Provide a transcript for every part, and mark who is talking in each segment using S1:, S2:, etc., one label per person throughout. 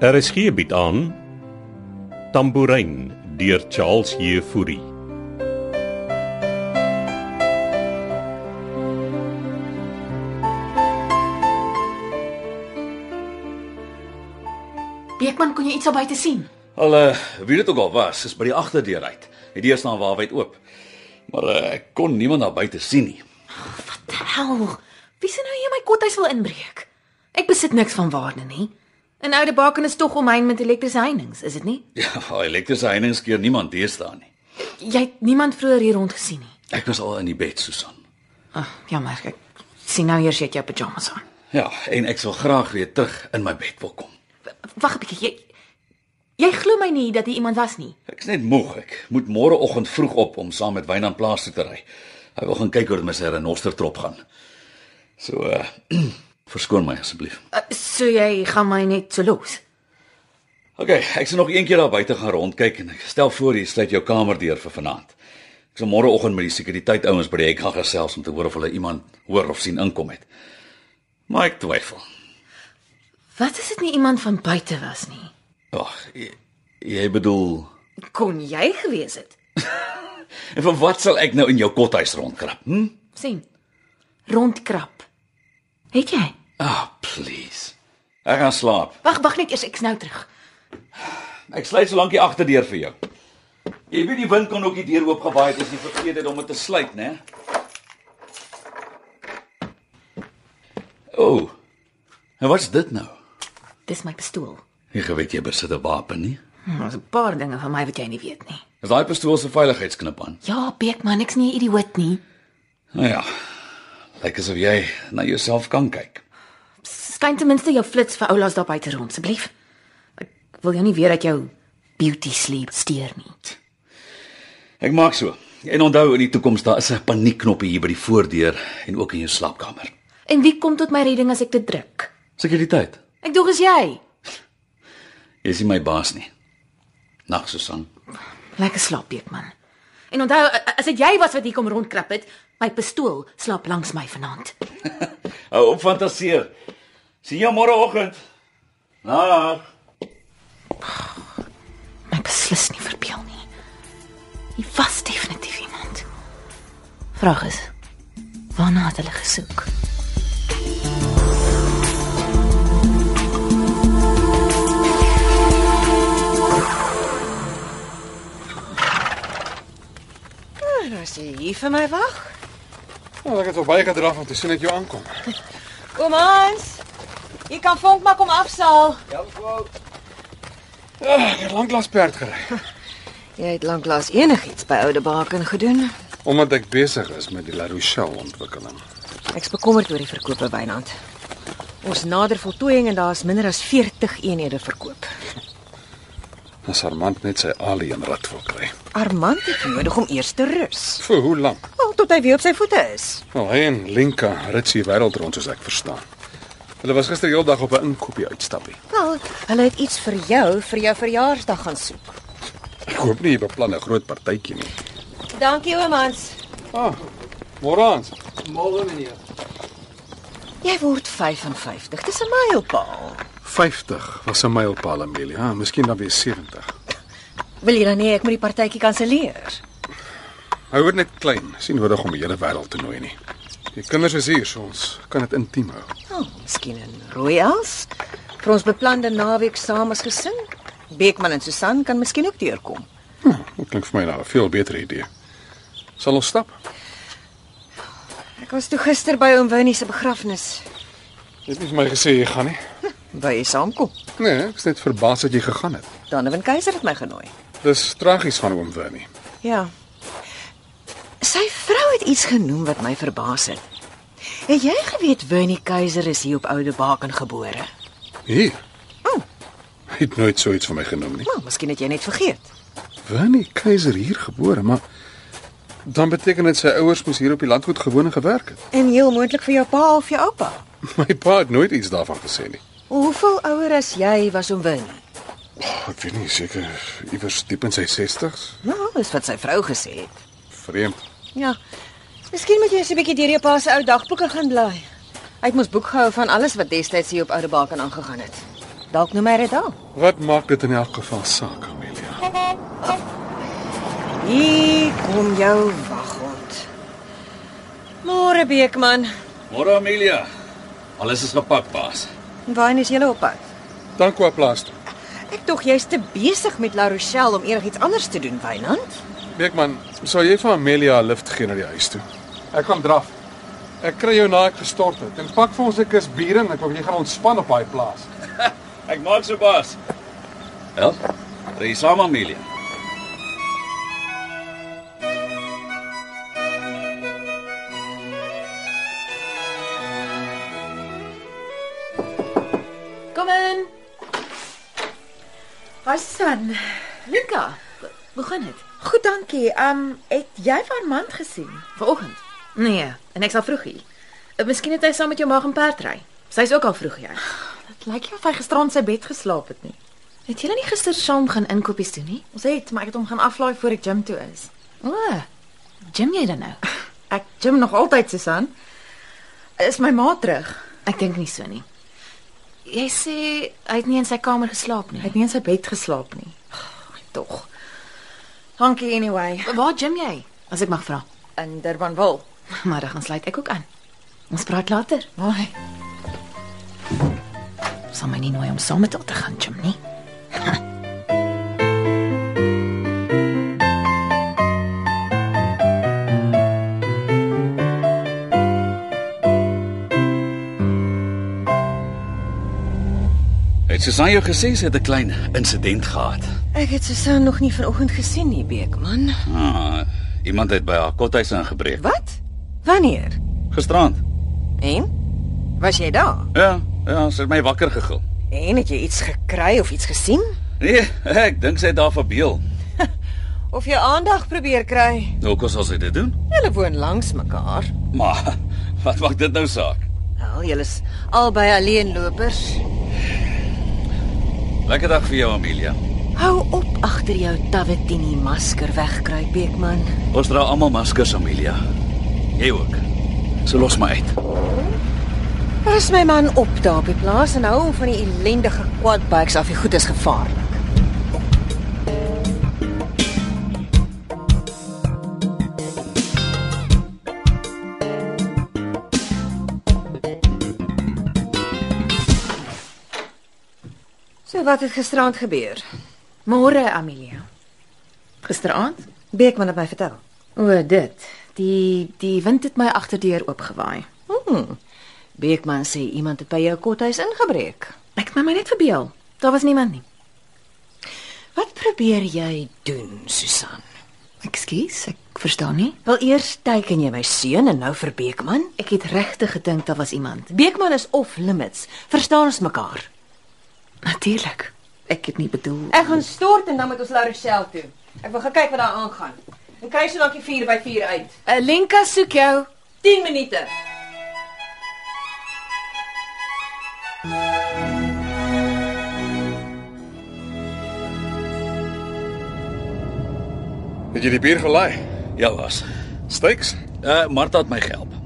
S1: RSG bied Er aan Tambourin deur Charles Jefouri.
S2: Beekman, kon jy iets daar buite sien?
S3: Al eh, wie dit ook al was, is by die agterdeur uit. Het eers na waarwyd oop. Maar eh, ek kon niemand daar buite sien nie.
S2: Hel. Wie sê nou jy my kothuis wil inbreek? Ek besit niks van waarde nie. 'n Oude baken is tog omheen met elektriese heininge, is dit nie?
S3: Ja, elektriese heininge keer niemand deesdae nie.
S2: Jy het niemand vroeër hier rond gesien nie.
S3: Ek was al in die bed, Susan.
S2: Ag, jammer. Ek sien nou eers jy het jou pyjamas aan.
S3: Ja, en ek sal graag weer terug in my bed wil kom.
S2: W- Wag 'n bietjie. Jy jy glo my nie dat hier iemand was nie.
S3: Ek's net moeg. Ek moet môreoggend vroeg op om saam met Wynand plaas toe te ry. Hy wil gaan kyk hoe dit met sy renostertrop gaan. So eh verskoon my asseblief.
S2: Uh, so jy gaan my net so los.
S3: OK, ek sal nog een keer daar buite gaan rondkyk en ek stel voor jy sluit jou kamer deur vir vanaand. Ek sal môreoggend met die sekuriteit ouens by die hek gaan gesels om te hoor of hulle iemand hoor of sien inkom het. Maar ek twyfel.
S2: Wat as dit nie iemand van buite was nie?
S3: Ag, jy, jy bedoel,
S2: Kon jy gewees het?
S3: en vir wat sal ek nou in jou kothuis rondkrap? Hm?
S2: sien. Rondkrap. Het jy?
S3: Ah, please. Ek gaan slaap.
S2: Wag, wag net eers, ek's nou terug.
S3: Ek sluit solank die agterdeur vir jou. Jy weet die wind kon ook die deur oop gewaai het as jy vergeet het om dit te sluit, né? O. Oh, en wat's dit nou?
S2: Dis my pistool.
S3: Jy geweet jy besit 'n wapen nie?
S2: Hm, Daar's 'n paar dinge van my wat jy nie weet nie.
S3: Is daai pistool se veiligheidsknip aan?
S2: Ja, Beekman, ek's nie 'n idioot nie.
S3: Nou ja. Lyk asof jy na jouself kan kyk.
S2: Skyn ten minste jou flits vir oulaas daar buite rond, asseblief. Ek wil jou nie weer dat jou beauty sleep steur nie.
S3: Ek maak so. En onthou in die toekoms daar is 'n paniekknoppie hier by die voordeur en ook in jou slaapkamer.
S2: En wie kom tot my redding as ek dit druk?
S3: Sekuriteit.
S2: Ek dog is jy.
S3: Jy is nie my baas nie. Nag, Susan.
S2: Lekker slaap, Beekman. En onthou, a- a- as dit jy was wat hier kom rondkrap het, my pistool slaap langs my vanaand.
S3: Hou op fantasieer. Sien jou môreoggend. Nag.
S2: My beslis nie verbeel nie. Hy was definitief iemand. Vraag is, waarna het hulle gesoek?
S4: Nou is jy hier vir my wag.
S5: Wel, Nou, ek het verbygedraf om te sien dat jy aankom.
S4: Kom ons. Jy kan vonk maar kom afsaal.
S5: Ek het lanklaas perd gery
S4: Jy het lanklaas enigiets by Oude Baken gedoen.
S5: omdat ek besig is met die La Rochelle ontwikkeling.
S4: Ek's bekommerd oor die verkope Wynand. Ons nader voltooiing en daar's minder as 40 eenhede verkoop.
S5: As Armand net sy alie en rat wil kry.
S4: Armand het nodig om eers te rus,
S5: Vir hoe lank?
S4: wel tot hy weer op sy voete is.
S5: Wel, hy en Linka rits die wêreld rond soos ek verstaan. Hulle was gister heeldag op 'n inkopie uitstappie.
S4: Wel, hulle het iets vir jou vir jou verjaarsdag gaan soek.
S5: Ek hoop nie jy beplan 'n groot partytjie nie.
S4: Dankie oomans.
S5: Ah. Morans.
S4: Jy word 55. Dis 'n mylpaal.
S5: 50 was 'n mylpaal, Amelia. Ah, miskien dan weer 70.
S4: Wil jy dan nie ek moet die partytjie kanselleer?
S5: Hou dit net klein. Sien nodig om die hele wêreld te nooi nie. Die kinders is hier, so ons kan dit intiem hou.
S4: Oh, miskien in Royals. Vir ons beplande naweek saam as gesin. Beekman en Susan kan miskien ook deurkom.
S5: Hm, dit klink vir my nou 'n veel beter idee. Sal ons stap?
S4: Ek was toe gister by oom Winnie se begrafnis.
S5: Jy het nie vir my gesê jy gaan nie.
S4: Wou jy saamkom?
S5: Nee, ek is net verbaas dat jy gegaan het.
S4: Donovan Keiser het my genooi.
S5: Dis tragies van oom Winnie.
S4: Ja. Sy vrou het iets genoem wat my verbaas het. Het jy geweet Winnie Keiser is hier op Oude Baken gebore?
S5: Hier. Hy het nooit so iets van my genoem nie.
S4: Nou, miskien het jy net vergeet.
S5: Winnie Keiser hier gebore, maar dan beteken dit sy ouers moes hier op die landgoed gewoon en gewerk het.
S4: En heel moontlik vir jou pa of jou oupa.
S5: My pa het nooit iets daarvan gesê nie.
S4: Hoeveel ouer as jy was oom Winnie?
S5: Oh, ek weet nie seker iewers diep in sy 60's.
S4: Nou, dis wat sy vrou gesê het.
S5: Vreemd.
S4: Ja. Miskien moet jy eens 'n bietjie deur jou pa se ou dagboeke gaan blaai. Hy het mos boek gehou van alles wat destyds hier op Oude Baken aangegaan het. Dalk noem hy dit al.
S5: Wat maak dit in elk geval saak, Amelia?
S4: Hier kom jou waghond. Môre Beekman,
S3: Môre Amelia. Alles is gepak, baas.
S4: waarheen is jy op pad?
S5: Tankwa plaas. toe.
S4: Ek tog jy's te besig met La Rochelle om enigiets anders te doen, Wynand.
S5: Beekman, sou jy vir Amelia 'n lift gee na die huis toe? Ek kom draf. Ek kry jou na ek gestort het. En pak vir ons 'n kus bier en ek wil jy gaan ontspan op daai plaas.
S3: Ek maak so, baas. Wel, ry saam Amelia.
S2: Kom in. Hassan. Nika, hoe gaan dit?
S6: Goed, dankie. Um het jy van Mand gesien?
S2: Vanoggend? Nee, en ek sal vroeg hier. Eh, Miskien het hy saam met jou ma gaan perdry. Sy's ook al vroeg hier.
S6: Dit lyk jy of hy gisterand sy bed geslaap het nie.
S2: Het julle nie gister saam gaan inkopies doen nie?
S6: Ons het, maar ek het hom gaan aflaai voor ek gym toe is.
S2: O. Gym jy dan nou?
S6: Ek gym nog altyd, Susan. Is my ma terug?
S2: Ek dink nie so nie. Jy sê hy het nie in sy kamer geslaap
S6: Hy
S2: nie.
S6: het nie in sy bed geslaap nie.
S2: Tog.
S6: Dankie anyway.
S2: Waar gym jy? As ek mag vra.
S6: In Durbanville.
S2: Maar dan sluit ek ook aan. Ons praat later.
S6: Haai.
S2: Sal my nie nooi om saam met haar te gaan gym nie.
S3: Het Susan jou gesê sy het 'n klein insident gehad?
S4: Ek het Susan nog nie vanoggend gesien nie, Beekman.
S3: Ah, iemand het by haar kothuis ingebreek.
S4: Wat? Wanneer?
S3: Gisterand.
S4: En was jy daar?
S3: Ja, ja, sy het my wakker gegil.
S4: En het jy iets gekry of iets gesien?
S3: Nee, ek dink sy het daar verbeel.
S4: Of jou aandag probeer kry?
S3: Nou kos ons dit doen.
S4: Hulle woon langs mekaar.
S3: Maar wat maak dit nou saak?
S4: Wel, julle is albei alleenlopers.
S3: Lekker dag vir jou Amelia.
S4: Hou op agter jou Tawetini masker wegkruip, Beekman.
S3: Ons dra almal maskers Amelia. Jy ook. So los my uit.
S4: Pas my man op daar by plaas en hou hom van die ellendige quadbikes af. Die goed is gevaarlik. So wat het gisterand gebeur?
S2: Môre, Amelia. Gisteraand?
S4: Beekman het my vertel.
S2: O, dit. Die die wind het my agterdeur oopgewaai.
S4: Hmm. Beekman sê iemand het by jou kothuis ingebreek.
S2: Ek het my maar net verbeel. Daar was niemand nie.
S4: Wat probeer jy doen, Susan?
S2: Ekskuus, ek verstaan nie.
S4: Wel eers teiken jy my seun en nou vir Beekman?
S2: Ek het regtig gedink daar was iemand.
S4: Beekman is off limits. Verstaan ons mekaar?
S2: Natuurlik. Ek het nie bedoel
S6: Ek gaan stort en dan moet ons La Rochelle toe. Ek wil gaan kyk wat daar aangaan. En kry so dankie 4 by 4 uit.
S2: Alenka Eh, soek jou.
S6: 10 minute.
S5: Het jy die bier gelaai?
S3: Ja, was.
S5: Steaks?
S3: Uh Martha het my gehelp.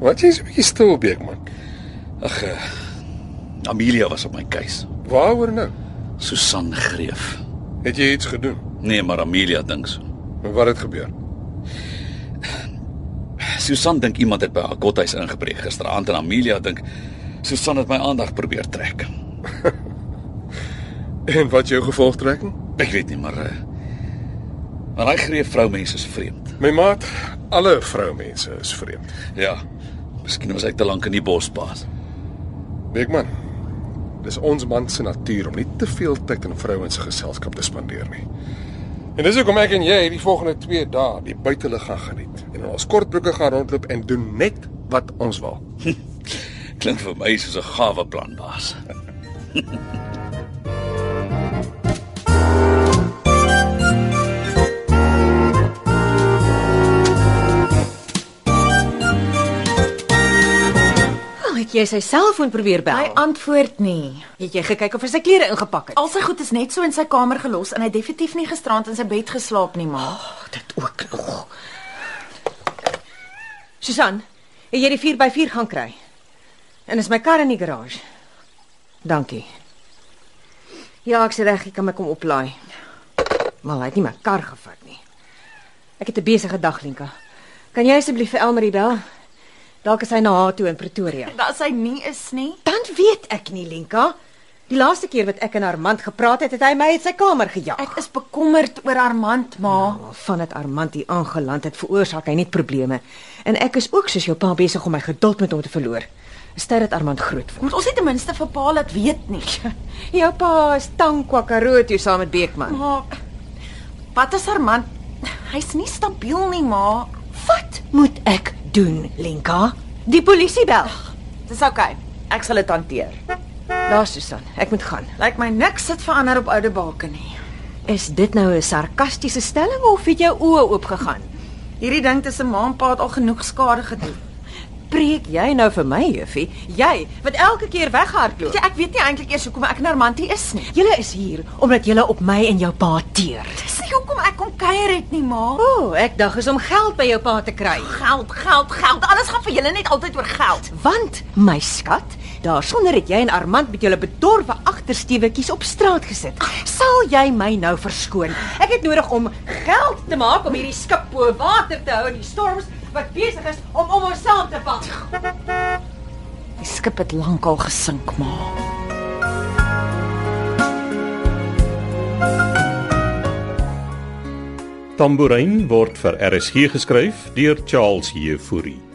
S5: Wat jy's 'n bietjie stil, Beekman.
S3: Ag, uh, Amelia was op my keus.
S5: Waaroor nou?
S3: Susan greef.
S5: Het jy iets gedoen?
S3: Nee, maar Amelia dink so.
S5: En wat het gebeur?
S3: Susan dink iemand het by haar kothuis ingebreek gisteraand en Amelia dink Susan het my aandag probeer trek.
S5: En wat jou gevolgtrekking?
S3: Ek weet nie, maar uh, maar daai greef vroumense is vreemd.
S5: My maat, alle vroumense is vreemd.
S3: Ja. Miskien was ek te lank in die bos pas.
S5: Beekman, dis ons man se natuur om nie te veel tyd in vrouens se geselskap te spandeer nie. En dis hoekom ek en jy die volgende 2 dae die buitelug gaan geniet en in ons kortbroeke gaan rondloop en doen net wat ons wil.
S3: Klink vir my soos 'n gawe plan, baas.
S4: Wel, het jy sy selfoon probeer
S6: Hy
S4: bel? Nee.
S6: antwoord nie.
S4: het jy gekyk of hy sy klere ingepak het?
S6: Al sy goed is net so in sy kamer gelos en hy het definitief nie gisterand in sy bed geslaap nie, maar.
S4: Oh, dit ook nog. Susan, het jy die 4x4 gaan kry? En is my kar in die garage? Dankie. Ja, ek's reg, ek kan my kom oplaai. Maar hy het nie my kar gevat nie. Ek het 'n besige dag, Lenka. Kan jy asseblief vir Elmarie bel? Dalk is hy na haar toe in Pretoria.
S2: Dat sy nie is nie.
S4: Dan weet ek nie, Lenka. Die laaste keer wat ek en Armand gepraat het, het hy my uit sy kamer gejaag.
S2: Ek is bekommerd oor Armand, ma.
S4: Van dit Armand hier aangeland het, veroorsaak hy net probleme. En ek is ook soos jou pa besig om my geduld met hom te verloor. Stel dat Armand groot word.
S2: Moet ons nie ten minste vir pa laat weet nie.
S4: Jou pa is tankwakkaroo toe saam met Beekman.
S2: Ma, wat is Armand? Hy's nie stabiel nie, ma.
S4: Wat moet ek doen, Lenka?
S7: Die polisie bel.
S2: Dis oukei. Okay. Ek sal dit hanteer.
S4: Daar Susan, ek moet gaan.
S2: Lyk my niks het verander op oude bake nie.
S4: Is dit nou 'n sarkastiese stelling of het jou oë oop gegaan?
S2: Hierdie ding tussen ma en pa het al genoeg skade gedoen.
S4: Preek jy nou vir my, juffie? Jy wat elke keer
S2: Weet
S4: weghardloop.
S2: Jy, ek weet nie eintlik eers hoekom ek na Armand hier is nie.
S4: Julle is hier omdat julle op my en jou pa teer.
S2: Dis nie hoekom ek kom kuier het nie, ma.
S4: O, oh, ek dag is om geld by jou pa te kry.
S2: Geld, geld, geld. Alles gaan vir julle net altyd oor geld.
S4: Want my skat, daarsonder het jy en Armand met julle bedorwe agterstewetjies op straat gesit. Sal jy my nou verskoon? Ek het nodig om geld te maak om hierdie skip bo water te hou in die storms wat besig is om om ons saam te vat.
S2: Die skip het lankal gesink, ma.
S1: Tambourin word vir RSG geskryf deur Charles Heffury.